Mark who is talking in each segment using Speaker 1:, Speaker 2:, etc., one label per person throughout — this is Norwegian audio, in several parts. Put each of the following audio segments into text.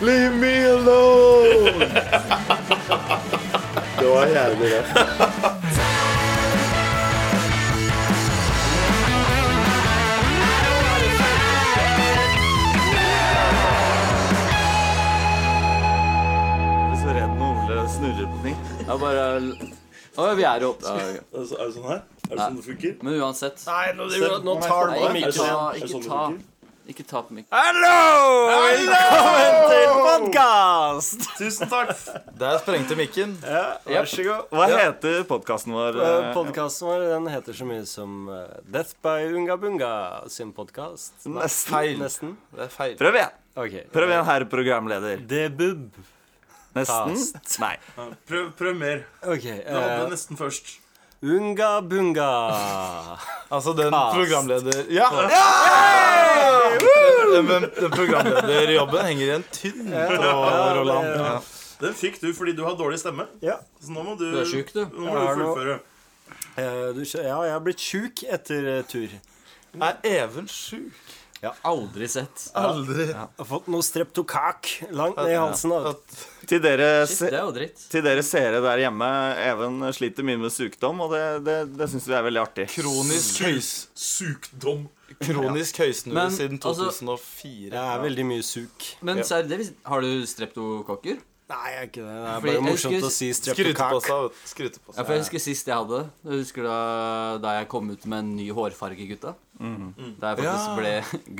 Speaker 1: Leave me alone! Det var jævlig rart.
Speaker 2: Jeg er så redd når Ole snurrer på ting. Jeg bare Å, vi er jo oppe. Ja, ok.
Speaker 1: Er det så- er det sånn her? Er det sånn det funker?
Speaker 2: Men uansett
Speaker 3: Nei, nå, driver- nå tar
Speaker 2: Nei,
Speaker 3: du på
Speaker 2: ikke
Speaker 3: mikken.
Speaker 2: ta,
Speaker 1: sånn- er det
Speaker 2: ikke
Speaker 1: sånn det
Speaker 2: ta,
Speaker 1: funker?
Speaker 2: ikke ta på mikken.
Speaker 3: Hallo!
Speaker 4: Til podcast!
Speaker 3: Tusen takk.
Speaker 5: Der sprengte mikken.
Speaker 3: Vær så god.
Speaker 5: Hva heter podkasten vår? eh?
Speaker 4: Podkasten vår den heter så mye som eh, Death by Unga Bunga sin podkast.
Speaker 5: Nesten. Feil.
Speaker 4: Nesten.
Speaker 3: Det er feil.
Speaker 5: Prøv igjen.
Speaker 4: OK.
Speaker 5: Prøv igjen, herr programleder.
Speaker 4: Debub.
Speaker 5: Nesten. Nei.
Speaker 3: Prøv, prøv mer.
Speaker 4: OK.
Speaker 3: Du hadde
Speaker 4: eh,
Speaker 3: nesten først.
Speaker 4: unga Bunga.
Speaker 5: Altså, den
Speaker 4: Cast.
Speaker 5: programleder... Ja! Den, den, den programlederjobben henger igjen tynn på Roland. Ja.
Speaker 3: Den fikk du fordi du har dårlig stemme.
Speaker 4: Ja.
Speaker 3: Så nå må du,
Speaker 2: Du er sjuk, du.
Speaker 3: Nå må
Speaker 4: Jeg er
Speaker 3: du
Speaker 4: nå-
Speaker 3: fullføre.
Speaker 4: Eh, du, skjø- ja, jeg har blitt sjuk etter eh, tur.
Speaker 5: Er Even sjuk?
Speaker 2: Aldri sett.
Speaker 5: Aldri.
Speaker 4: Jeg har fått noe streptokak langt ned i halsen. da.
Speaker 5: Til dere,
Speaker 2: Shit, det er jo dritt.
Speaker 1: Til dere seere der hjemme, Even sliter mye med sykdom, og det, det, det syns vi er veldig artig.
Speaker 5: Kronisk, høys,
Speaker 3: Sykdom.
Speaker 5: kronisk høysnue
Speaker 2: Men,
Speaker 5: siden
Speaker 2: altså-
Speaker 5: 2004.
Speaker 4: Jeg er veldig mye suk.
Speaker 2: Men serr, det vis- har du streptokokker?
Speaker 4: Nei, jeg er ikke det. Det er
Speaker 2: Fordi jeg
Speaker 4: bare morsomt
Speaker 2: husker-
Speaker 4: å si
Speaker 5: Skrute på
Speaker 4: streptokak.
Speaker 5: seg. vet du. Skrute på
Speaker 2: Ja,
Speaker 5: seg.
Speaker 2: for Jeg husker sist jeg hadde det. Jeg husker da, da jeg kom ut med en ny hårfarge, gutta. Da jeg faktisk
Speaker 5: Ja.
Speaker 2: ble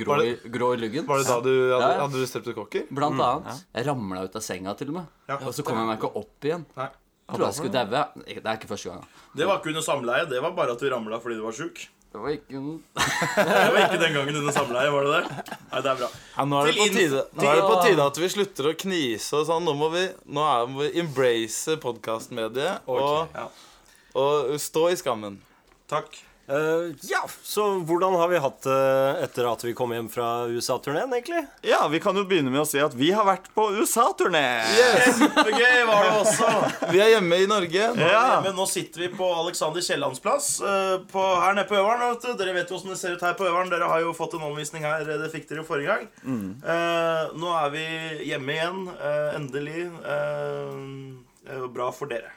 Speaker 2: grå,
Speaker 5: Var
Speaker 2: i- grå i luggen.
Speaker 5: Var det da du hadde,
Speaker 2: Ja, ja.
Speaker 5: hadde du streptokokker?
Speaker 2: Blant annet. Jeg ramla ut av senga, til og med.
Speaker 3: Ja.
Speaker 2: Og så kom jeg meg ikke opp igjen.
Speaker 3: Nei.
Speaker 2: Jeg trodde jeg skulle daue. Det er ikke første gang. da.
Speaker 3: Det var ikke under samleie, det var bare at du ramla fordi du var sjuk.
Speaker 2: Det var ikke en-
Speaker 3: Det var ikke den gangen under samleie, var det det? Nei, det er bra.
Speaker 5: Ja, nå er det
Speaker 3: Til
Speaker 5: på
Speaker 3: inn-
Speaker 5: tide Nå er det på tide at vi slutter å knise og sånn. Nå må vi, nå er, må vi embrace podkastmediet og,
Speaker 3: Ja.
Speaker 5: og stå i skammen.
Speaker 3: Takk.
Speaker 4: Eh, ja, så hvordan har vi hatt det etter at vi kom hjem fra USA-turneen, egentlig?
Speaker 1: Ja, vi kan jo begynne med å si at vi har vært på USA-turné.
Speaker 3: Kjempegøy var det også.
Speaker 5: Vi er hjemme i Norge.
Speaker 1: Ja.
Speaker 3: Eh, Men nå sitter vi på Alexander Kiellands plass eh, på, her nede på Øveren. Vet du. Dere vet jo hvordan det ser ut her på Øveren. Dere har jo fått en omvisning her. eh, Det fikk dere jo forrige gang. Eh, nå er vi hjemme igjen. eh, endelig. Eh, det er jo bra for dere.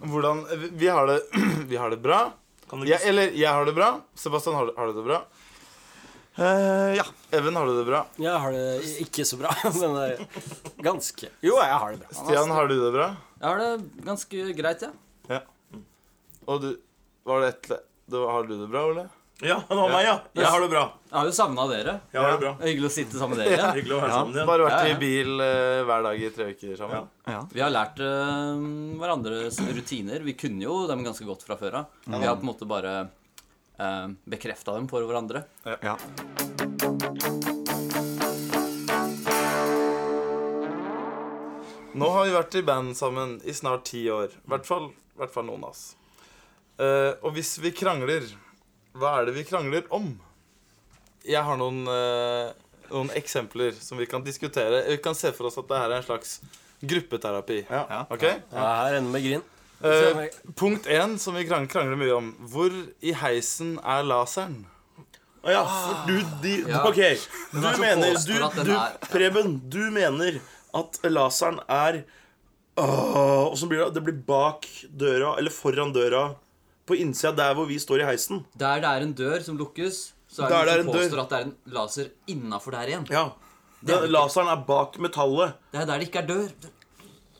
Speaker 5: Hvordan vi- Vi har det, vi har det bra.
Speaker 3: Kan du
Speaker 5: Jeg,
Speaker 3: ikke
Speaker 5: eller jeg har det bra. Sebastian, har, du- har du det bra?
Speaker 1: Eh, ja.
Speaker 5: Even, har du det bra?
Speaker 4: Jeg har det ikke så bra, men det er ganske Jo, jeg har det bra.
Speaker 5: Stian, har du det bra?
Speaker 2: Jeg har det ganske greit, jeg.
Speaker 5: Og du Var det et det var, Har du det bra, Ole?
Speaker 3: Ja, det var meg, ja. Jeg har det bra.
Speaker 2: Jeg har jo savna dere.
Speaker 3: Jeg har det bra.
Speaker 2: Det er Hyggelig å sitte sammen med dere igjen.
Speaker 3: Hyggelig å være sammen igjen.
Speaker 5: Bare vært
Speaker 2: Ja, ja.
Speaker 5: i bil eh, hver dag i tre uker sammen?
Speaker 2: Vi har lært eh, hverandres rutiner. Vi kunne jo dem ganske godt fra før av. Vi har på en måte bare uh, bekrefta dem for hverandre.
Speaker 1: ja.
Speaker 5: Nå har vi vært i band sammen i snart ti år. I hvert fall, i hvert fall noen av oss. Eh, og hvis vi krangler, hva er det vi krangler om? Jeg har noen, eh, noen eksempler som vi kan diskutere. Vi kan se for oss at det her er en slags gruppeterapi.
Speaker 3: Ja.
Speaker 5: Ok?
Speaker 4: Jeg her ender med grin.
Speaker 5: Eh, punkt én som vi krang- krangler mye om. Hvor i heisen er laseren?
Speaker 3: Å ja,
Speaker 5: Ah.
Speaker 3: for du, de,
Speaker 2: Ja.
Speaker 3: Ok, du
Speaker 2: er så
Speaker 3: mener
Speaker 2: påstår at
Speaker 3: du,
Speaker 2: den
Speaker 3: du,
Speaker 2: er-
Speaker 3: Preben, du mener at laseren er Åh, Og så blir det, det blir bak døra, eller foran døra, på innsida der hvor vi står i heisen.
Speaker 2: Der det er en dør som lukkes, så er
Speaker 3: Der
Speaker 2: det
Speaker 3: det er
Speaker 2: noen som
Speaker 3: en dør.
Speaker 2: påstår at det er en laser innafor der igjen.
Speaker 3: Ja. Den, laseren er bak metallet.
Speaker 2: Det er der det ikke er dør.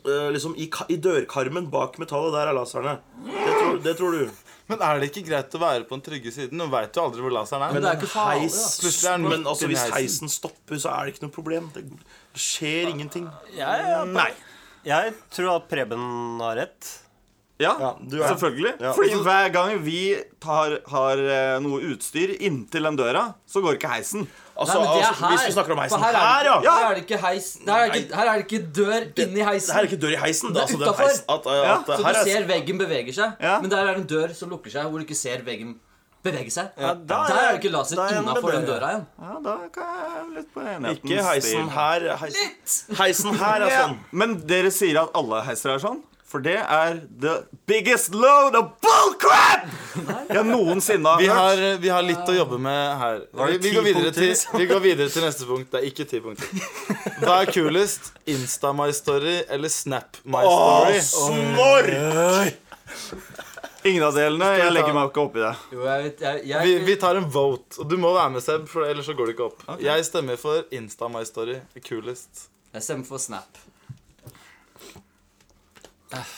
Speaker 3: Eh, liksom i, ka- I dørkarmen bak metallet. Der er laserne. Det tror, det tror du.
Speaker 5: Men er det ikke greit å være på den trygge siden? Nå veit du aldri hvor laseren er.
Speaker 2: Men det er ikke farlig,
Speaker 3: heis,
Speaker 2: da.
Speaker 5: Plutselig er den
Speaker 3: men
Speaker 5: midt
Speaker 3: altså,
Speaker 5: inne i
Speaker 3: hvis
Speaker 5: heisen.
Speaker 3: heisen stopper, så er det ikke noe problem. Det det skjer ingenting.
Speaker 4: Nei. Jeg tror at Preben har rett.
Speaker 1: Ja,
Speaker 3: du er-
Speaker 1: selvfølgelig.
Speaker 3: Ja.
Speaker 1: Fordi hver gang vi tar, har eh, noe utstyr inntil den døra, så går ikke heisen.
Speaker 3: Altså,
Speaker 2: Nei, men det er
Speaker 3: altså, hvis vi snakker om
Speaker 2: For
Speaker 3: heisen
Speaker 2: her, er, det-
Speaker 3: ja!
Speaker 2: Her er det ikke heis Her er det ikke, her er det ikke dør inni
Speaker 3: Det her
Speaker 2: heisen.
Speaker 3: er ikke dør i heisen. Det
Speaker 2: Det er
Speaker 3: er altså den
Speaker 2: utenfor.
Speaker 3: heisen at, at, at,
Speaker 2: Så
Speaker 3: her
Speaker 2: du
Speaker 3: er-
Speaker 2: ser veggen beveger seg,
Speaker 1: Ja.
Speaker 2: men der er en dør som lukker seg, hvor du ikke ser veggen bevege seg.
Speaker 4: da er
Speaker 2: der er det
Speaker 4: jeg-
Speaker 2: ikke laser
Speaker 4: da er jeg med
Speaker 2: innafor den
Speaker 4: dere.
Speaker 2: døra igjen.
Speaker 1: Ja, da kan jeg jo litt på enhetens
Speaker 3: Ikke heisen
Speaker 1: stil.
Speaker 3: her. Heisen, heisen her er
Speaker 1: Ja.
Speaker 3: sånn.
Speaker 1: Men dere sier at alle heiser er sånn? For det er the biggest load of bullcrap jeg noensinne har
Speaker 5: Vi har, eh,
Speaker 1: hørt.
Speaker 5: vi har litt å jobbe med her.
Speaker 4: Var
Speaker 5: Vi,
Speaker 4: det
Speaker 5: vi,
Speaker 4: ti
Speaker 5: går videre
Speaker 4: punkter,
Speaker 5: til,
Speaker 4: liksom?
Speaker 5: vi går videre til neste punkt. Det er ikke ti punkter. Hva er kulest? Insta my story eller Snap my story?
Speaker 3: Snorr!
Speaker 1: Ingen av delene.
Speaker 5: vi
Speaker 1: Jeg
Speaker 5: ta-
Speaker 1: legger meg ikke opp i det.
Speaker 2: Jo, jeg vet jeg, jeg,
Speaker 5: Vi, vi tar en vote. Og du må være med, Seb, for ellers så går det ikke opp. Jeg stemmer for Insta my story. Kulest.
Speaker 2: jeg stemmer for Snap.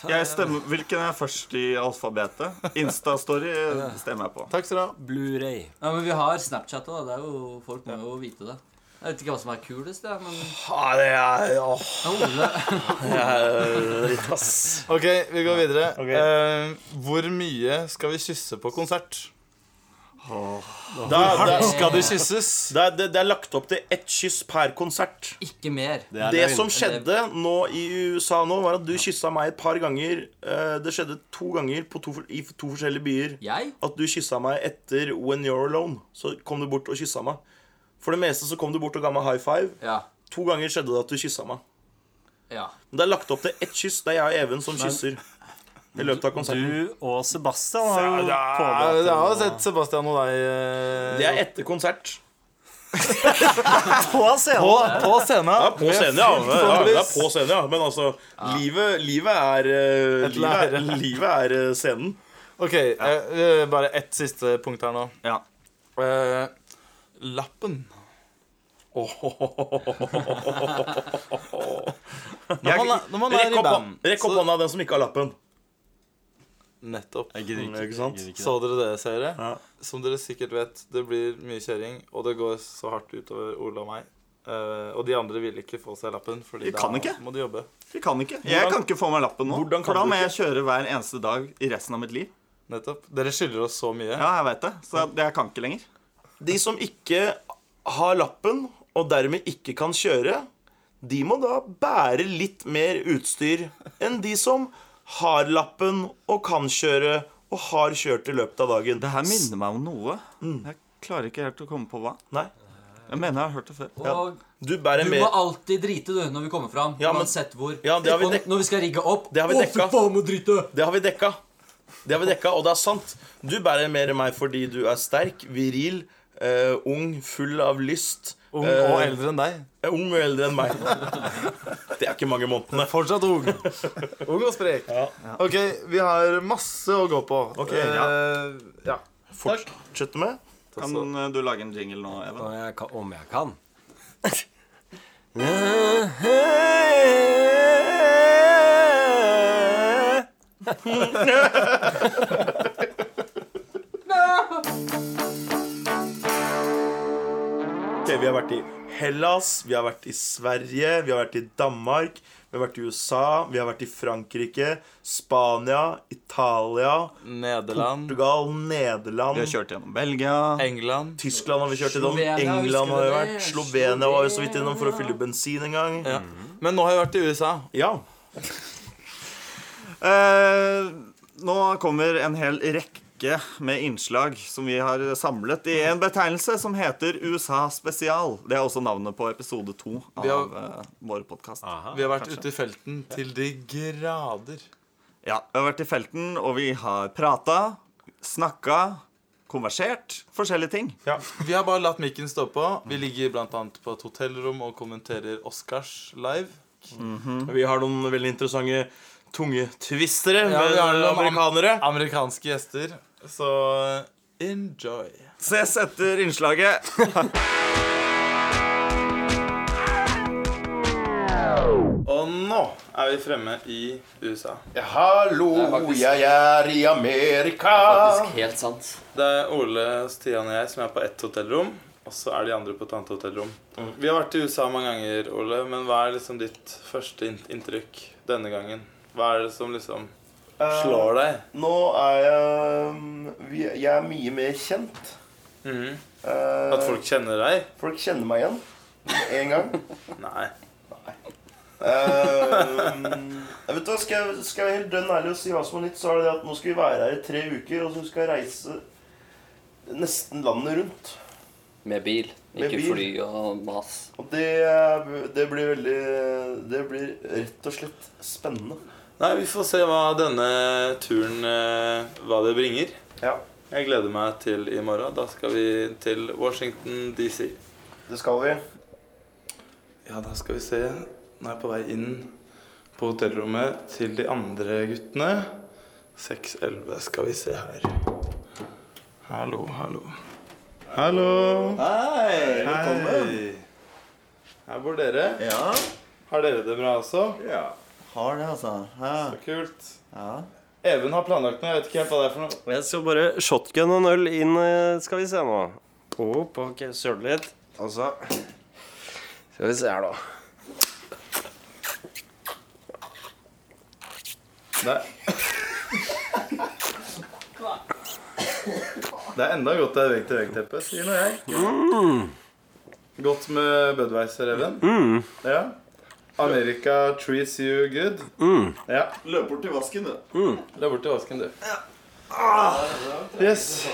Speaker 1: Jeg stemmer, Hvilken er først i alfabetet? Insta-story stemmer jeg på.
Speaker 5: Takk skal du ha.
Speaker 4: Blu-ray.
Speaker 2: Ja, men vi har Snapchat òg. Det er jo Folk må jo vite det. Jeg vet ikke hva som er kulest, jeg, men
Speaker 3: Ja, det er åh.
Speaker 2: Ole
Speaker 5: Ok, vi går videre.
Speaker 3: Ok.
Speaker 5: Eh, hvor mye skal vi kysse på konsert?
Speaker 3: Det er, det, er,
Speaker 5: Skal det kysses?
Speaker 3: det, er, det er lagt opp til ett kyss per konsert.
Speaker 2: Ikke mer.
Speaker 4: er
Speaker 3: Det
Speaker 4: løgn.
Speaker 3: som skjedde nå i USA nå, var at du kyssa meg et par ganger. Eh, Det skjedde to ganger på to, for- i to forskjellige byer.
Speaker 2: Jeg?
Speaker 3: At du kyssa meg etter When You're Alone. Så kom du bort og kyssa meg. For det meste så kom du bort og ga meg high five.
Speaker 2: Ja.
Speaker 3: To ganger skjedde det at du kyssa meg.
Speaker 2: Ja.
Speaker 3: Men det er lagt opp til ett kyss. Det er jeg og Even som kysser. I løpet av konserten.
Speaker 4: Du og Sebastian har jo
Speaker 5: Ja,
Speaker 4: pådratt
Speaker 5: Jeg har sett Sebastian og deg eh,
Speaker 3: Det er etter konsert.
Speaker 4: på
Speaker 5: på,
Speaker 4: scenen.
Speaker 5: på scenen.
Speaker 3: Ja, på scenen, ja. ja. Det er
Speaker 5: trommelis.
Speaker 3: på scenen, ja. Men altså, livet, livet er eh,
Speaker 5: Et
Speaker 3: Livet er, livet er eh, scenen.
Speaker 5: Ok, eh, eh, bare ett siste punkt her nå.
Speaker 1: Ja.
Speaker 5: Eh, lappen. Når man er, når man er
Speaker 3: Rekk
Speaker 5: i
Speaker 3: opp,
Speaker 5: band
Speaker 3: hå- rekk opp hånda den som ikke har lappen.
Speaker 5: Nettopp.
Speaker 3: Ikke sant?
Speaker 5: Så dere det, seere?
Speaker 3: Ja.
Speaker 5: Som dere sikkert vet, det blir mye kjøring, og det går så hardt utover Ole og meg. Eh, og de andre vil ikke få seg lappen, Fordi
Speaker 1: De kan
Speaker 5: da
Speaker 1: ikke.
Speaker 5: må de jobbe.
Speaker 1: Vi kan ikke. Jeg kan ikke få meg lappen nå.
Speaker 3: Hvordan kan
Speaker 1: For da
Speaker 3: du
Speaker 1: må
Speaker 3: ikke?
Speaker 1: jeg kjøre hver eneste dag i resten av mitt liv.
Speaker 5: Nettopp. Dere skylder oss så mye.
Speaker 1: Ja, jeg vet det. Så jeg kan ikke lenger.
Speaker 3: De som ikke har lappen, og dermed ikke kan kjøre, de må da bære litt mer utstyr enn de som har lappen og kan kjøre og har kjørt i løpet av dagen.
Speaker 1: Det her minner meg om noe. Jeg klarer ikke helt å komme på hva.
Speaker 3: Nei.
Speaker 1: Jeg mener jeg har hørt det før.
Speaker 2: Og
Speaker 3: Du bærer
Speaker 2: du
Speaker 3: mer
Speaker 2: må alltid drite, du, når vi kommer fram.
Speaker 3: Ja, men-
Speaker 2: uansett hvor.
Speaker 3: Ja, det har vi
Speaker 2: og
Speaker 3: dek-
Speaker 2: når vi skal rigge opp
Speaker 3: Det har vi
Speaker 2: Å, fy
Speaker 3: dekka.
Speaker 2: faen, må drite!
Speaker 3: Det har vi dekka. Det har vi dekka, og det er sant. Du bærer mer enn meg fordi du er sterk, viril, eh, ung, full av lyst.
Speaker 5: Ung
Speaker 3: eh,
Speaker 5: og eldre enn deg.
Speaker 3: eh, Ung og eldre enn meg. Det er ikke mange månedene.
Speaker 5: Fortsatt ung. ung og sprek. Ok, vi har masse å gå på.
Speaker 3: Ok,
Speaker 5: Eh, ja.
Speaker 3: Fortsett med.
Speaker 1: Kan eh, du lage en jingle nå, Even?
Speaker 4: Om jeg kan- Om jeg kan.
Speaker 3: Ok, vi har vært i Hellas, vi har vært i Sverige, vi har vært i Danmark, vi har vært i USA, vi har vært i Frankrike, Spania, Italia,
Speaker 5: Nederland,
Speaker 3: Portugal, Nederland
Speaker 1: Vi har kjørt gjennom Belgia.
Speaker 5: England
Speaker 3: Tyskland har vi kjørt innom.
Speaker 2: Slovenia,
Speaker 3: England har
Speaker 2: husker
Speaker 3: vi
Speaker 2: du
Speaker 3: vært.
Speaker 2: det?
Speaker 3: Slovenia var jo så vidt innom for å fylle bensin en gang.
Speaker 5: ja. Men nå har jeg vært i USA.
Speaker 3: Ja.
Speaker 1: Eh, nå kommer en hel rekke med innslag som vi har samlet i en betegnelse som heter USA Spesial. Det er også navnet på episode to av
Speaker 5: Vi
Speaker 1: eh, vår podkast.
Speaker 5: Vi har vært ute i felten til de grader.
Speaker 1: Ja, vi har vært i felten, og vi har prata, snakka, konversert. Forskjellige ting.
Speaker 5: Vi har bare latt mikken stå på. Vi ligger blant annet på et hotellrom og kommenterer Oscars live.
Speaker 3: Vi har noen veldig interessante tungetvistere
Speaker 5: Ja, vi
Speaker 3: med
Speaker 5: har noen
Speaker 3: amerikanere.
Speaker 5: Amerikanske gjester. Så eh, enjoy.
Speaker 1: Ses etter innslaget.
Speaker 5: Og nå er vi fremme i USA.
Speaker 6: Hallo,
Speaker 2: faktisk-
Speaker 6: jeg er i Amerika.
Speaker 2: Faktisk helt sant.
Speaker 5: Det er Ole, Stian og jeg som er på ett hotellrom. Og så er de andre på et annet hotellrom. Vi har vært i USA mange ganger, Ole, men hva er liksom ditt første in- inntrykk denne gangen? Hva er det som liksom slår deg?
Speaker 6: Nå er jeg um, vi- Jeg er mye mer kjent. Eh,
Speaker 5: At folk kjenner deg?
Speaker 6: folk kjenner meg igjen med en gang.
Speaker 5: Nei.
Speaker 6: Eh, um, jeg vet du, hva, skal, jeg, skal jeg være helt dønn ærlig og si hva som er nytt, så er det det at nå skal vi være her i tre uker, og så skal jeg reise nesten landet rundt.
Speaker 2: Med bil.
Speaker 6: Med bil.
Speaker 2: og mas.
Speaker 6: eh, Og det, det blir veldig Det blir rett og slett spennende.
Speaker 5: Nei, vi får se hva denne turen eh, Hva det bringer.
Speaker 3: Ja,
Speaker 5: Jeg gleder meg til i morgen. Da skal vi til Washington DC.
Speaker 3: det skal vi.
Speaker 5: Ja, da skal vi se. Nå er jeg på vei inn på hotellrommet til de andre guttene. 6.11 skal vi se her. Hallo, hallo. Hallo.
Speaker 3: Hei,
Speaker 5: Hei. Her bor dere.
Speaker 7: Ja,
Speaker 5: Har dere det bra også?
Speaker 7: har det, altså.
Speaker 5: Så kult. Even har planlagt noe. Jeg vet ikke helt hva det er for noe.
Speaker 4: Jeg skal bare shotgun og en øl inn, eh, skal vi se nå. Opp, ok, søle litt. Og så Skal vi se her, da.
Speaker 5: Det er Det er enda godt det er vegg-til-vegg-teppe, sier nå jeg. Godt med Budweiser, Even. Ja. America treats you good. Ja.
Speaker 7: Løp bort til vasken, du.
Speaker 5: La bort til vasken, du. Yes.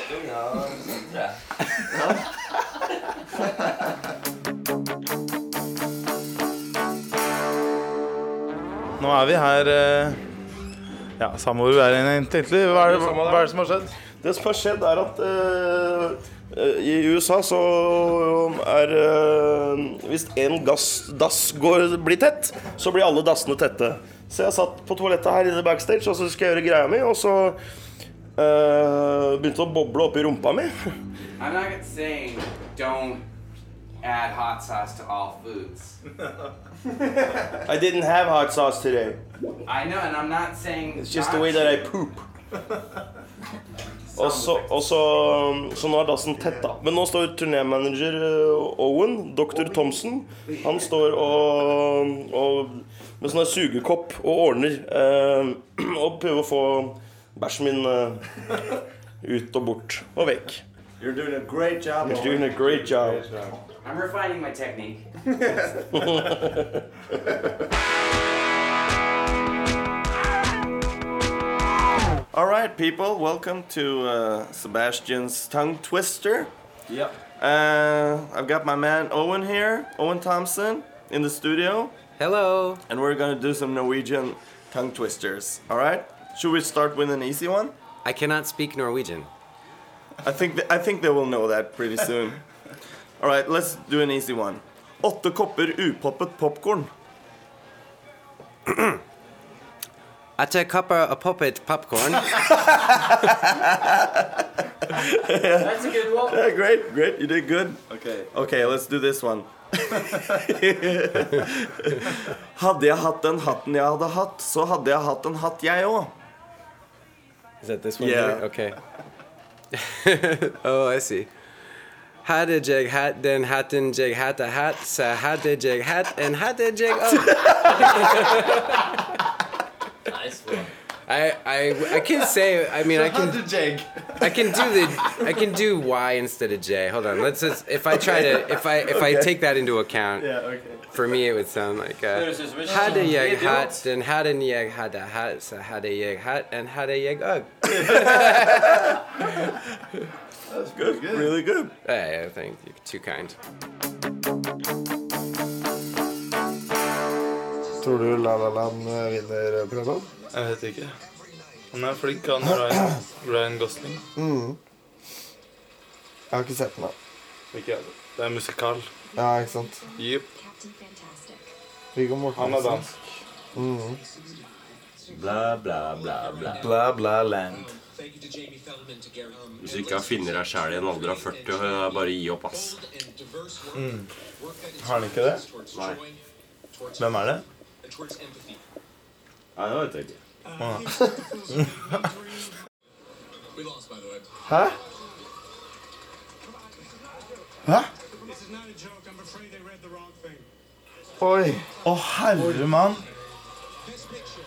Speaker 5: Nå er vi her eh, Ja, samme hvor vi er egentlig. Hva er det, hva er det som har skjedd?
Speaker 3: Det som har skjedd, er at eh, eh, i USA så er eh, Hvis en gass, dass går, blir tett, så blir alle dassene tette. Så jeg satt på toalettet her inne backstage, og så skal jeg gjøre greia mi, og så eh, begynte det å boble oppi rumpa mi.
Speaker 8: I'm not saying don't add hot sauce to all foods.
Speaker 3: I didn't have hot sauce today.
Speaker 8: I know, and I'm not saying
Speaker 3: It's just the way that I poop. Og så, og så, så nå er dassen tett, da. Men nå står turnémanager eh, Owen, dr. Thomsen, han står og, og med sånn her sugekopp og ordner. eh, og prøver å få bæsjen min eh, ut og bort og vekk.
Speaker 7: You're doing a great job.
Speaker 3: You're doing a great job.
Speaker 8: I'm refining my technique.
Speaker 3: All right, people, welcome to uh, Sebastian's Tongue Twister.
Speaker 5: Ja.
Speaker 3: Uh, I've got my man Owen here, Owen Thompson, in the studio,
Speaker 8: Hello.
Speaker 3: and we're gonna do some Norwegian tongue twisters. All right? Should we start with an easy one?
Speaker 8: I cannot speak Norwegian.
Speaker 3: I think th- I think they will know that pretty soon. All right, let's do an easy one. Åtte kopper upoppet popcorn.
Speaker 8: At a cup of a puppet popcorn. That's a good one.
Speaker 3: Yeah, great, great, you did good.
Speaker 5: Okay.
Speaker 3: Okay, let's do this one. hadde jeg hatt den hatten jeg hadde hatt, så hadde jeg hatt en hatt jeg òg.
Speaker 8: Is that this one?
Speaker 3: Yeah.
Speaker 8: here? Okay. oh, I see. Hatte jeg hat, den hatten jeg hatte hat, så hatte jeg hat, and hatte jeg oh.
Speaker 9: Nice, bro.
Speaker 8: I, I, I can say, I mean, I can I can do the I can do Y instead of J. Hold on. Let's just if I try to if I if I take that into account. Yeah, okay. For me it would sound like uh, Hade jeg hat, then hadden jeg hadde hat, så hadde jeg hat, and hadde jeg ugg.
Speaker 3: Good, really good.
Speaker 8: Hey, I think you're too kind.
Speaker 10: Tror du La La Land eh, vinner eh, Prøven?
Speaker 5: Jeg vet ikke. Han er flink, han Ryan, Ryan Gosling.
Speaker 10: Jeg har ikke sett den. da.
Speaker 5: Ikke jeg. Det er musikal.
Speaker 10: Ja, ikke sant?
Speaker 5: Jepp.
Speaker 10: Viggo
Speaker 5: Han er
Speaker 10: Mortensen.
Speaker 5: dansk.
Speaker 11: Bla, bla, bla, bla.
Speaker 5: Bla, bla, land.
Speaker 11: Hvis du ikke finner deg sjæl i en alder av 40, bare gi opp, ass.
Speaker 5: Har han ikke det?
Speaker 11: Nei.
Speaker 5: Hvem er det?
Speaker 11: Nei, det vet jeg ikke.
Speaker 10: Hæ? Hæ?
Speaker 7: Oi.
Speaker 5: Å, herre mann.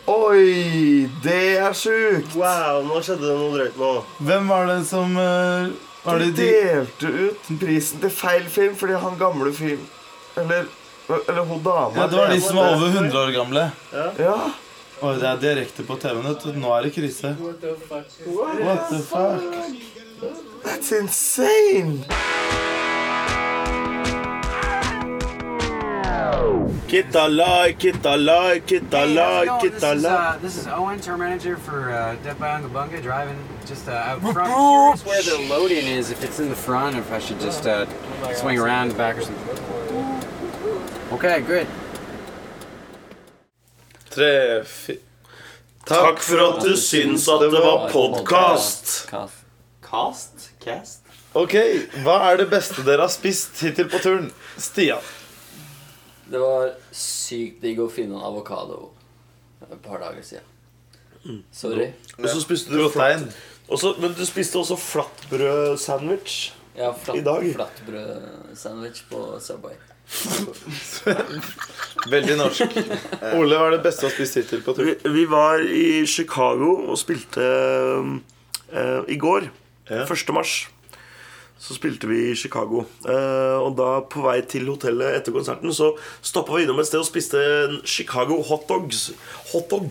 Speaker 7: Oi, det er sjukt!
Speaker 3: Wow, nå skjedde det noe drøyt nå.
Speaker 5: Hvem var det som eh, var
Speaker 7: De
Speaker 5: det de
Speaker 7: delte ut prisen til feil film fordi han gamle film Eller, eller hun dama.
Speaker 5: Ja, det var de som var over 100 år gamle.
Speaker 7: Ja.
Speaker 5: Oi, det er direkte på TV-en. vet du. Nå er det krise. What the fuck?
Speaker 7: That's insane!
Speaker 4: It I like it, I like it, I like it, I
Speaker 8: this, is,
Speaker 4: like
Speaker 8: uh, this is Owen, tour manager for uh, Dead by Uncle Bunga, driving just uh, out front. Curious where the load-in is, if it's in the front, or if I should just uh, swing around the back or something. Okay, good.
Speaker 5: Tre, fi...
Speaker 4: Takk for at du syns at det var podkast.
Speaker 2: Kaff.
Speaker 12: Cast? Cast?
Speaker 5: Ok, hva er det beste dere har spist hittil på turen? Stian.
Speaker 2: Det var sykt digg å finne en avokado et par dager siden.
Speaker 3: Mm.
Speaker 2: Sorry.
Speaker 4: Og så spiste du flatt.
Speaker 5: Protein.
Speaker 4: Og så- men du spiste også flatbrødsandwich.
Speaker 2: Jeg har flatt,
Speaker 4: I dag.
Speaker 2: flatbrødsandwich på Subway.
Speaker 5: Veldig norsk. Ole, hva er det beste du har spist hittil på turen?
Speaker 4: Vi, vi var i Chicago og spilte eh, i går. 1. mars. Så spilte vi i Chicago. Eh, og da på vei til hotellet etter konserten så stoppa vi innom et sted og spiste en Chicago hotdogs. Hotdog.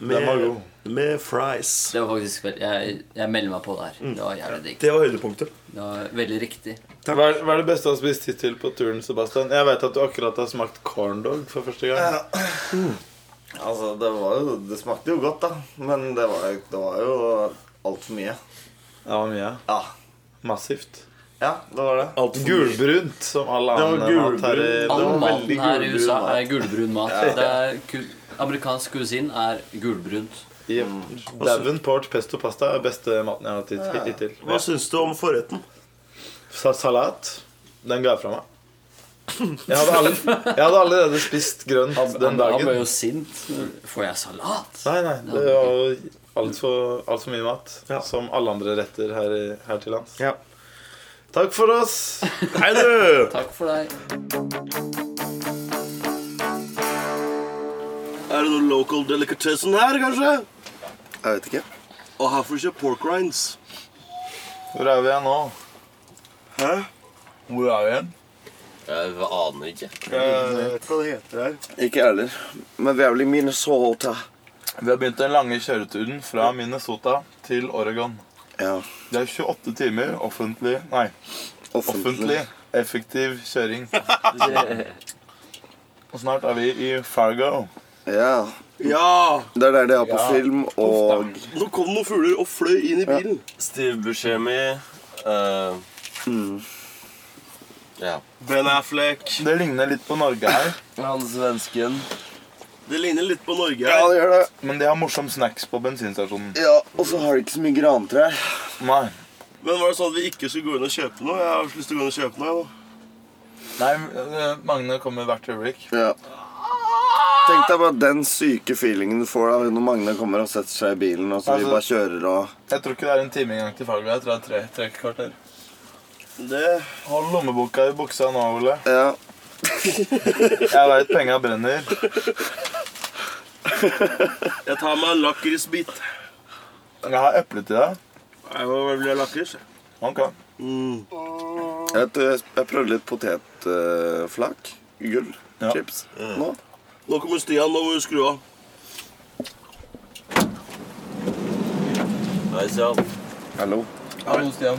Speaker 5: var
Speaker 4: Med,
Speaker 5: god.
Speaker 4: med fries.
Speaker 2: Det var faktisk veldig Jeg, jeg melder meg på der.
Speaker 7: Mm.
Speaker 2: Det var jævlig digg.
Speaker 4: Det var høydepunktet.
Speaker 2: Det var veldig riktig.
Speaker 5: Hva er, hva er det beste du har spist hittil på turen, Sebastian? Jeg vet at du akkurat har smakt corndog for første gang.
Speaker 7: Altså, det var jo Det smakte jo godt, da. Men det var, det var jo altfor mye.
Speaker 5: Det var mye.
Speaker 7: Ja.
Speaker 5: Massivt.
Speaker 7: Ja, det var det.
Speaker 5: Gulbrunt, som all
Speaker 7: var
Speaker 5: annen mat her i
Speaker 7: gulbrunt.
Speaker 2: All
Speaker 7: var veldig
Speaker 2: maten her i
Speaker 7: gulbrun
Speaker 2: USA
Speaker 7: mat.
Speaker 2: er gulbrun mat. Det er ku- amerikansk kusin er gulbrunt.
Speaker 5: Yep. Davenport pesto pasta er beste maten jeg har hatt hit- hittil.
Speaker 4: Hva syns du om forretten?
Speaker 5: Sa salat. Den ga jeg fra meg. Jeg hadde, alle, jeg hadde allerede spist grønt den
Speaker 2: Han, han
Speaker 5: dagen.
Speaker 2: ble jo sint. Får jeg salat?
Speaker 5: Nei, nei, det var jo altfor alt for mye mat. Som alle andre retter her, i- her til lands.
Speaker 4: Ja.
Speaker 5: Takk for oss.
Speaker 4: Hei, du!
Speaker 2: Takk for deg.
Speaker 4: Er det noen local delicatessen her, kanskje?
Speaker 7: Jeg vet ikke.
Speaker 4: Og her får du kjøpt pork rinds.
Speaker 5: Hvor er vi igjen nå?
Speaker 4: Hæ?
Speaker 5: Hvor er vi igjen?
Speaker 12: Jeg aner ikke.
Speaker 7: Jeg vet hva det heter her. Ikke jeg heller. Men vi er vel i Minnesota.
Speaker 5: Vi har begynt den lange kjøreturen fra Minnesota til Oregon.
Speaker 7: Ja.
Speaker 5: Det er 28 timer offentlig Nei, offentlig effektiv kjøring. Og snart er vi i Fargo.
Speaker 7: Ja.
Speaker 4: Ja!
Speaker 7: Det er der de er på
Speaker 5: Ja.
Speaker 7: film, og
Speaker 4: Nå kom noen fugler og fløy inn i bilen.
Speaker 12: Steve Buscemi eh, Ja.
Speaker 4: Ben Affleck.
Speaker 5: Det ligner litt på Norge her,
Speaker 12: Han svensken.
Speaker 4: Det ligner litt på Norge.
Speaker 7: Ja,
Speaker 4: her.
Speaker 7: det gjør det.
Speaker 5: men de har morsom snacks på bensinstasjonen.
Speaker 7: Ja, Og så har de ikke så mye grantrær.
Speaker 5: Nei,
Speaker 4: Men var det sånn at vi ikke skulle gå inn og kjøpe noe? Jeg har så lyst til å gå inn og kjøpe noe. jeg, nå.
Speaker 5: Nei eh, Magne kommer hvert øyeblikk.
Speaker 7: Ja. Tenk deg bare den syke feelingen du får da når Magne kommer og setter seg i bilen, og så vi
Speaker 5: Altså-
Speaker 7: bare kjører og
Speaker 5: Jeg tror ikke det er en time engang til Fargo. Jeg tror det er tre, tre kvarter.
Speaker 4: Det
Speaker 5: Hold lommeboka i buksa nå, Ole.
Speaker 7: Ja.
Speaker 5: Jeg veit penga brenner.
Speaker 4: Jeg tar meg en lakrisbit.
Speaker 5: Jeg har eple til deg.
Speaker 4: Jeg må vel bli lakris. jeg. Mm.
Speaker 5: Ok.
Speaker 7: Jeg, tror jeg, jeg prøvde litt potetflak. eh, Gull.
Speaker 5: Ja.
Speaker 7: Chips. Nå.
Speaker 4: Mm. Nå kommer Stian. Nå må du skru av.
Speaker 12: Hei, Sian.
Speaker 7: Hallo.
Speaker 2: Hallo, Stian.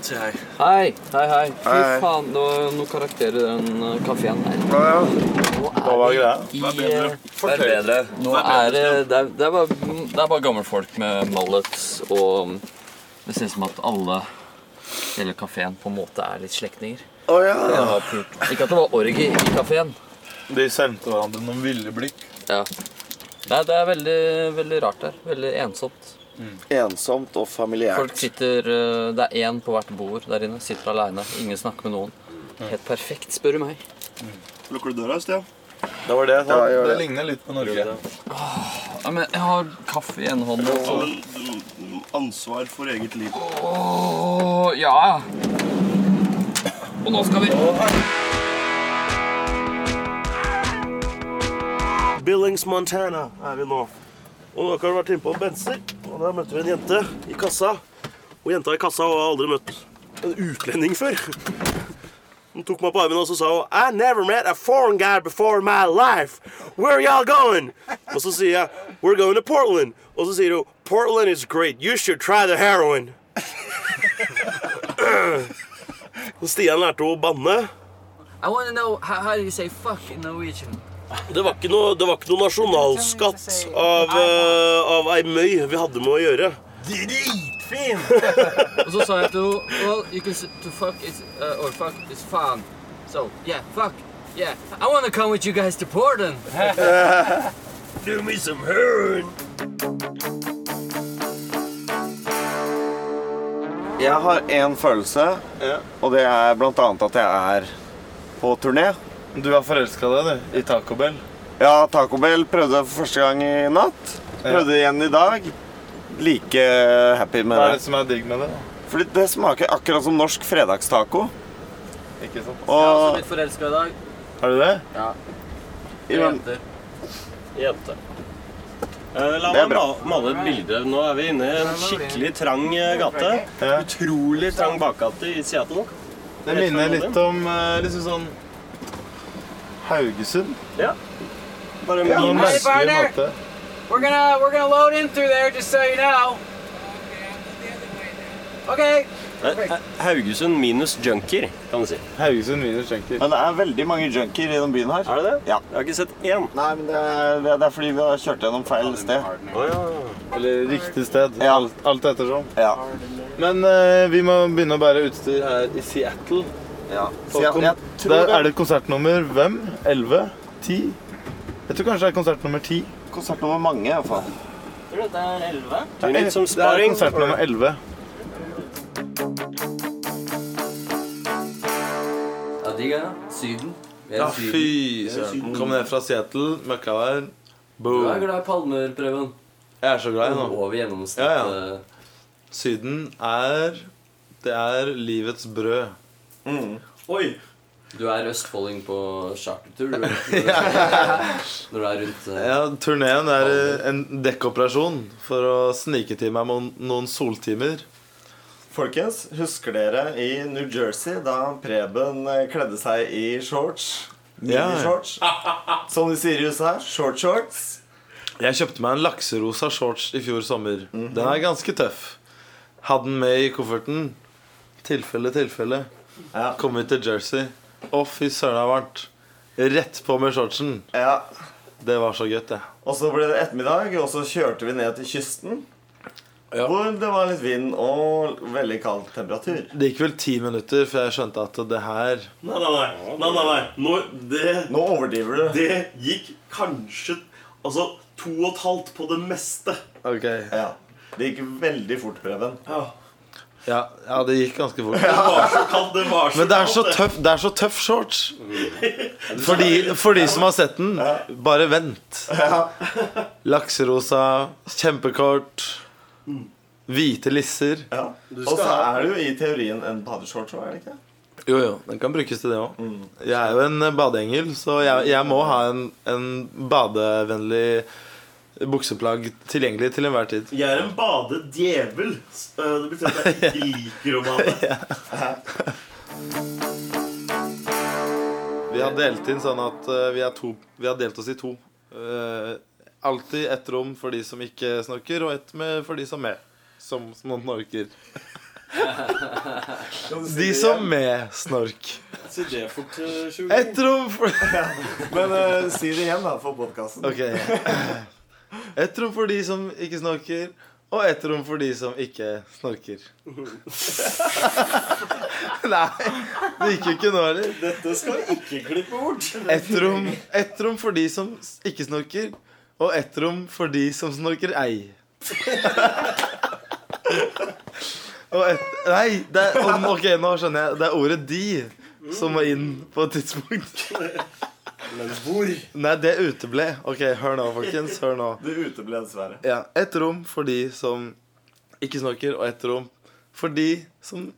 Speaker 4: Se her.
Speaker 2: Hei. Hei, hei. Fy
Speaker 7: Hei.
Speaker 2: faen, nå, nå karakterer den eh, kafeen her.
Speaker 7: Ja, ja.
Speaker 5: Hva var greia?
Speaker 2: I, eh,
Speaker 12: Det er bedre.
Speaker 2: nå er det det er, det, er bare, det er bare gamle folk med mallets, og det ser ut som at alle hele kafeen på en måte er litt slektninger.
Speaker 7: Å ja.
Speaker 2: Ikke at det var orgi i kafeen.
Speaker 5: De sendte hverandre noen ville blikk.
Speaker 2: Ja. Nei, det er veldig, veldig rart der. Veldig ensomt.
Speaker 7: Mm. Ensomt og familiært.
Speaker 2: Folk sitter eh, Det er én på hvert bord der inne. Sitter aleine. Ingen snakker med noen. Helt perfekt, spør du meg.
Speaker 4: Lukker du døra, Stian?
Speaker 5: Det var det jeg sa.
Speaker 7: Ja, gjør
Speaker 5: det.
Speaker 7: det.
Speaker 5: ligner litt på Norge.
Speaker 2: Ja, men jeg har kaffe i en hånd og
Speaker 4: Ta vel mm, ansvar for eget liv.
Speaker 2: Åh, ja. Og nå skal vi
Speaker 4: Billings, Montana er vi nå. Og dere har vært inne på benser, og der møtte vi en jente i kassa. Og jenta i kassa har aldri møtt en utlending før. Hun tok meg på armen og så sa hun, I never met a foreign guy before in my life. Where y'all going? Og så sier jeg, we're going to Portland. Og så sier hun, Portland is great. You should try the heroin. Og Stian lærte henne å banne.
Speaker 8: I want to know how, how do you say fuck in Norwegian?
Speaker 13: Det var ikke noe, det var ikke noe nasjonalskatt av, eh, av ei møy vi hadde med å gjøre.
Speaker 8: Dritfin! og så sa jeg til henne Well, you can s- to fuck is uh, Or fuck is faen. So, yeah, fuck. Yeah. I want to come with you guys to Portland.
Speaker 13: Do me some heroin.
Speaker 7: Jeg har én følelse, og det er blant annet at jeg er på turné.
Speaker 5: Du har forelska deg, du, i Taco Bell?
Speaker 7: Ja, Taco Bell prøvde jeg for første gang i natt. Prøvde igjen i dag. Like happy med
Speaker 5: Hva er det
Speaker 7: det.
Speaker 5: som er digg med det? da?
Speaker 7: Fordi det smaker akkurat som norsk fredagstaco.
Speaker 5: Ikke sant?
Speaker 7: Og
Speaker 8: Jeg har også blitt forelska i dag.
Speaker 5: Har du det?
Speaker 8: Ja.
Speaker 5: I hvem?
Speaker 8: Jenter.
Speaker 4: Jente. Eh, La
Speaker 5: Det er
Speaker 4: meg
Speaker 5: bra.
Speaker 4: ma- male et bilde. Nå er vi inne i en skikkelig trang eh, gate. Utrolig trang bakgate i Seattle.
Speaker 5: Det minner litt om eh, liksom sånn Haugesund.
Speaker 4: Ja.
Speaker 5: Bare
Speaker 4: med-
Speaker 5: en
Speaker 4: Hei,
Speaker 5: merkelig
Speaker 4: Werner!
Speaker 5: måte.
Speaker 14: We're gonna we're gonna load in through there, just so you know. Okay.
Speaker 4: Eh, eh, Haugesund minus junkier, kan du si.
Speaker 5: Haugesund minus junkier.
Speaker 7: Men det er veldig mange junkier i denne byen her.
Speaker 4: Er det det?
Speaker 7: Ja.
Speaker 4: Jeg har ikke sett én.
Speaker 7: Nei, men det er, det er fordi vi har kjørt gjennom feil sted.
Speaker 5: Eller riktig sted. Alt, alt ettersom.
Speaker 7: Ja.
Speaker 5: Men eh, vi må begynne å bære utstyr her i Seattle.
Speaker 7: Ja.
Speaker 5: Så kom- Der er det konsertnummer hvem? 11? 10? Jeg tror kanskje det er konsertnummer 10.
Speaker 7: Konsertnummer mange, i hvert fall.
Speaker 4: Tror du det er 11?
Speaker 5: Det er, det er konsert nummer 11.
Speaker 2: Ja, digg, ja. Syden. Vi er i
Speaker 5: Ja,
Speaker 2: Syden.
Speaker 5: fy
Speaker 2: Vi er i Syden.
Speaker 5: søren. Kom ned fra Seattle, møkka der.
Speaker 2: Du er
Speaker 5: Boom.
Speaker 2: glad i palmer, Preben.
Speaker 5: Jeg er så glad i nå.
Speaker 2: Over gjennomsnitt.
Speaker 5: Ja, ja.
Speaker 2: eh,
Speaker 5: Syden er Det er livets brød.
Speaker 2: Oi! Du er østfolding på chartertur, du. Når du er rundt eh,
Speaker 5: Ja, Turneen er eh, en dekkoperasjon for å snike til meg mon- noen soltimer.
Speaker 3: Folkens, husker dere i New Jersey da Preben eh, kledde seg i shorts?
Speaker 5: Ja.
Speaker 3: Mini-shorts. Som de sier i USA. Short shorts.
Speaker 5: Jeg kjøpte meg en lakserosa shorts i fjor sommer.
Speaker 3: Mhm.
Speaker 5: Den er ganske tøff. Hadde den med i kofferten. Tilfelle, tilfelle. Kom ut til Jersey. Å, fy søren, det er varmt. Rett på med shortsen. Det var så gøy, det.
Speaker 3: Og så ble det ettermiddag, og så kjørte vi ned til kysten. Hvor det var litt vind og veldig kald temperatur.
Speaker 5: Det gikk vel ti minutter før jeg skjønte at det her
Speaker 3: Nei, nei, nei. nei, nei, nei.
Speaker 13: Nå, det,
Speaker 3: Nå overdriver du.
Speaker 13: det gikk kanskje Altså to og et halvt på det meste.
Speaker 5: Ok.
Speaker 3: Ja. Det gikk veldig fort, Preben.
Speaker 5: Ja, ja det gikk ganske fort.
Speaker 13: Det var så kaldt. Det var så
Speaker 5: Men det er så
Speaker 13: kaldt,
Speaker 5: tøff, det er så tøff shorts. For de, for de som har sett den, bare vent. Lakserosa, kjempekort, hvite lisser.
Speaker 3: Og så er det jo i teorien en badeshorts òg, er det ikke?
Speaker 5: Jo, jo, den kan brukes til det òg.
Speaker 13: Mm.
Speaker 5: Jeg er jo en eh, badeengel, så jeg, jeg må ha en, en badevennlig bukseplagg tilgjengelig til enhver tid.
Speaker 13: Jeg er en badedjevel. S- eh, Det betyr at jeg ikke liker å bade.
Speaker 5: Vi har delt inn sånn at eh, vi, er to, vi har delt oss i to. Eh, alltid ett rom for de som ikke snorker, og ett med, for de som med. Som snorker. De som med snork.
Speaker 3: Si det fort, eh, Sjur.
Speaker 5: Ett rom for
Speaker 3: Men eh, si det igjen, da, for podkasten.
Speaker 5: Ok. Ett rom for de som ikke snorker, og ett rom for de som ikke snorker. Nei, det gikk jo ikke nå heller.
Speaker 13: Dette skal vi ikke klippe bort.
Speaker 5: Ett rom, ett rom for de som s- ikke snorker, og ett rom for de som snorker ei. og ett Nei, det er, om- ok, nå skjønner jeg. Det er ordet 'de' som må inn på et tidspunkt.
Speaker 3: Men hvor?
Speaker 5: Nei, det uteble. Ok, hør nå, folkens. Hør nå.
Speaker 3: Det uteble dessverre.
Speaker 5: Ja, Ett rom for de som ikke snorker, og ett rom for de som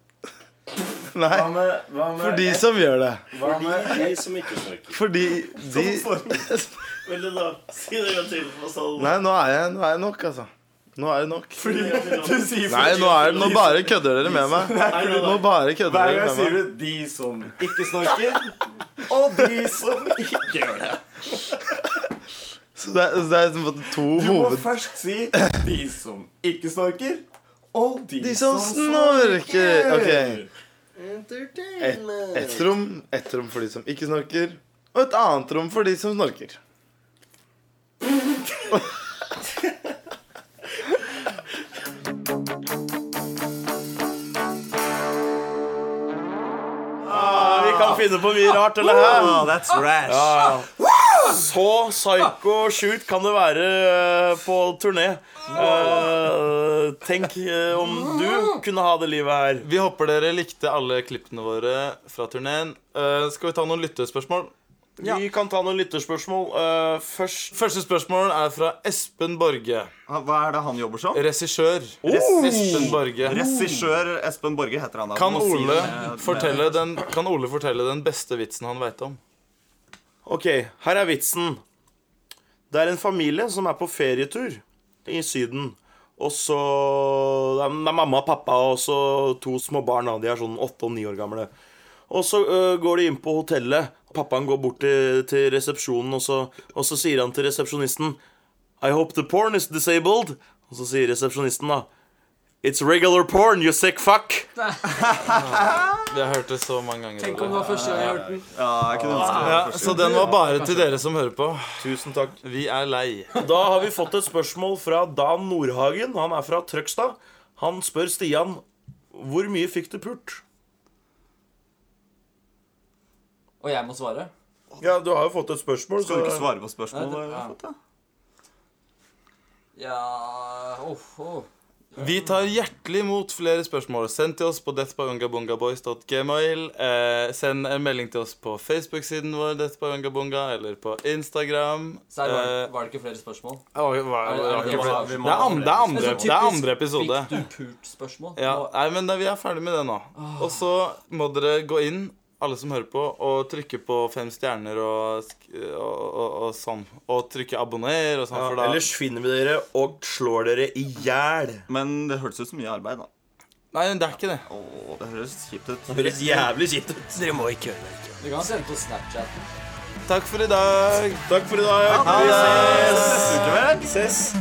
Speaker 5: Nei.
Speaker 3: Hva med, hva med
Speaker 5: For de som gjør det.
Speaker 3: Hva med
Speaker 13: de som ikke snorker?
Speaker 5: Fordi de
Speaker 13: Vel, da. Si det en gang til. Hva sa du?
Speaker 5: Nei, nå er, jeg, nå er jeg nok, altså. Nå er det nok.
Speaker 3: du sier
Speaker 5: Nei, nå, er, nå bare kødder dere med meg.
Speaker 3: Nei, nei, nei.
Speaker 5: Nå bare kødder
Speaker 3: Hver
Speaker 5: dere
Speaker 3: gang
Speaker 5: med
Speaker 3: sier
Speaker 5: meg.
Speaker 3: du 'de som ikke snorker', og 'de som ikke gjør det'.
Speaker 5: Så det er, så det er på en måte to
Speaker 3: Du må
Speaker 5: hoved...
Speaker 3: først si 'de som ikke snorker', og 'de,
Speaker 5: De som snorker. Ok. Et, et rom, et rom for de som ikke snorker, og et annet rom for de som snorker.
Speaker 3: Ja, vi kan finne på mye rart, eller hæ?
Speaker 1: Oh, that's rash.
Speaker 3: Ja, ja. Så psycho sjukt kan det være eh, på turné. Eh, tenk eh, om du kunne ha det livet her.
Speaker 5: Vi håper dere likte alle klippene våre fra turneen. Eh, skal vi ta noen lyttespørsmål?
Speaker 3: Vi kan ta noen lytterspørsmål. Eh, først
Speaker 5: Første spørsmål er fra Espen Borge.
Speaker 1: Hva er det han jobber som?
Speaker 5: Regissør.
Speaker 1: Res-
Speaker 5: Espen Borge.
Speaker 1: Regissør Espen Borge heter han. da.
Speaker 5: Kan
Speaker 1: Du må si
Speaker 5: Ole,
Speaker 1: med- med-
Speaker 5: fortelle den, kan Ole fortelle den beste vitsen han veit om?
Speaker 3: Ok, her er vitsen. Det er en familie som er på ferietur i Syden. Og så Det er det er mamma og pappa og så to små barn. da. De er sånn åtte og ni år gamle. Og så øh, går de inn på hotellet. Pappaen går bort til, til resepsjonen, og så, og så sier han til resepsjonisten I hope the porn is disabled. Og så sier resepsjonisten, da It's regular porn, you sick fuck.
Speaker 5: Vi har hørt det så mange ganger.
Speaker 3: Tenk
Speaker 5: Ole.
Speaker 3: om det var første gang jeg hørte den.
Speaker 1: Ja, jeg kunne ønske det var
Speaker 5: ja,
Speaker 1: første
Speaker 5: Så
Speaker 1: gang.
Speaker 5: den var bare til dere som hører på.
Speaker 3: Tusen takk.
Speaker 5: Vi er lei.
Speaker 3: Da har vi fått et spørsmål fra Dan Nordhagen. Han er fra Trøgstad. Han spør Stian hvor mye fikk du pult?
Speaker 2: Og jeg må svare?
Speaker 3: Ja, du har jo fått et spørsmål.
Speaker 2: Skal du ikke svare
Speaker 1: på
Speaker 2: Nei, det- ja. Ja oh, oh.
Speaker 5: Vi tar hjertelig imot flere spørsmål. Send til oss på deathbyungabungaboys.gmail. Eh, send en melding til oss på Facebook-siden vår, deathbyungabunga, eller på Instagram.
Speaker 2: Serr, var, det-
Speaker 5: Eh,
Speaker 2: var det ikke flere spørsmål?
Speaker 5: Å, vi- hva-
Speaker 2: Er det- er
Speaker 5: det var
Speaker 2: det
Speaker 5: ikke
Speaker 2: det
Speaker 5: flere-
Speaker 2: vi må-
Speaker 5: det er andre- det er andre-
Speaker 2: Men så
Speaker 5: det er
Speaker 2: typisk
Speaker 5: andre episode.
Speaker 2: Fikk du pult-spørsmål?
Speaker 5: Ja, nei, men da, vi er ferdig med det nå. Og så må dere gå inn, alle som hører på, og trykke på fem stjerner og, sk- og, og, og sånn. Og trykke abonner og sånn,
Speaker 3: Ja,
Speaker 5: for da
Speaker 3: ellers finner vi dere og slår dere i hjel.
Speaker 1: Men det hørtes ut som mye arbeid, da.
Speaker 5: Nei, det er ikke det.
Speaker 1: Åh, det høres kjipt ut.
Speaker 3: Det høres jævlig kjipt ut. Dere må ikke gjøre det.
Speaker 2: Du kan sende på Snapchat.
Speaker 5: Takk for i dag.
Speaker 3: Takk for i dag.
Speaker 5: Ha det.
Speaker 3: Vi ses.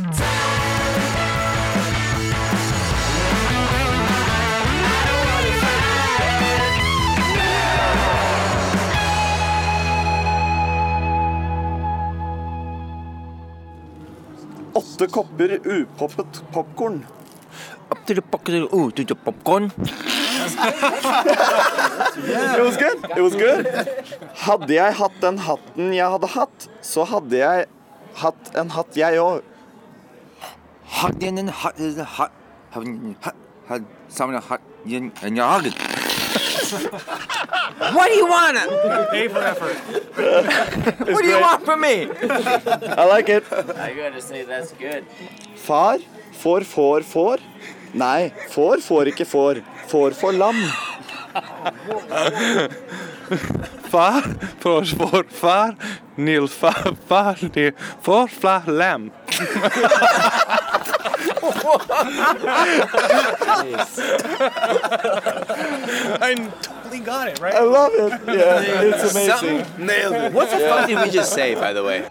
Speaker 7: Åtte kopper upoppet popkorn.
Speaker 15: Popcorn.
Speaker 7: Josker, Josker. Hadde jeg hatt den hatten jeg hadde hatt, så hadde jeg hatt en hatt, jeg òg.
Speaker 15: Har den en har har har har- har sammen har den en jag. What do you want?
Speaker 16: A for effort.
Speaker 15: What do you want from me?
Speaker 7: I like it.
Speaker 16: I gotta say that's good.
Speaker 7: Far får får får. Nei, får får ikke får. Får får lam.
Speaker 17: Far, for vår far, nil far, far, nil, for fla lam.
Speaker 16: I totally got it, right?
Speaker 7: I love it. Yeah, it's amazing.
Speaker 16: Nailed it.
Speaker 15: What the fuck did we just say, by the way?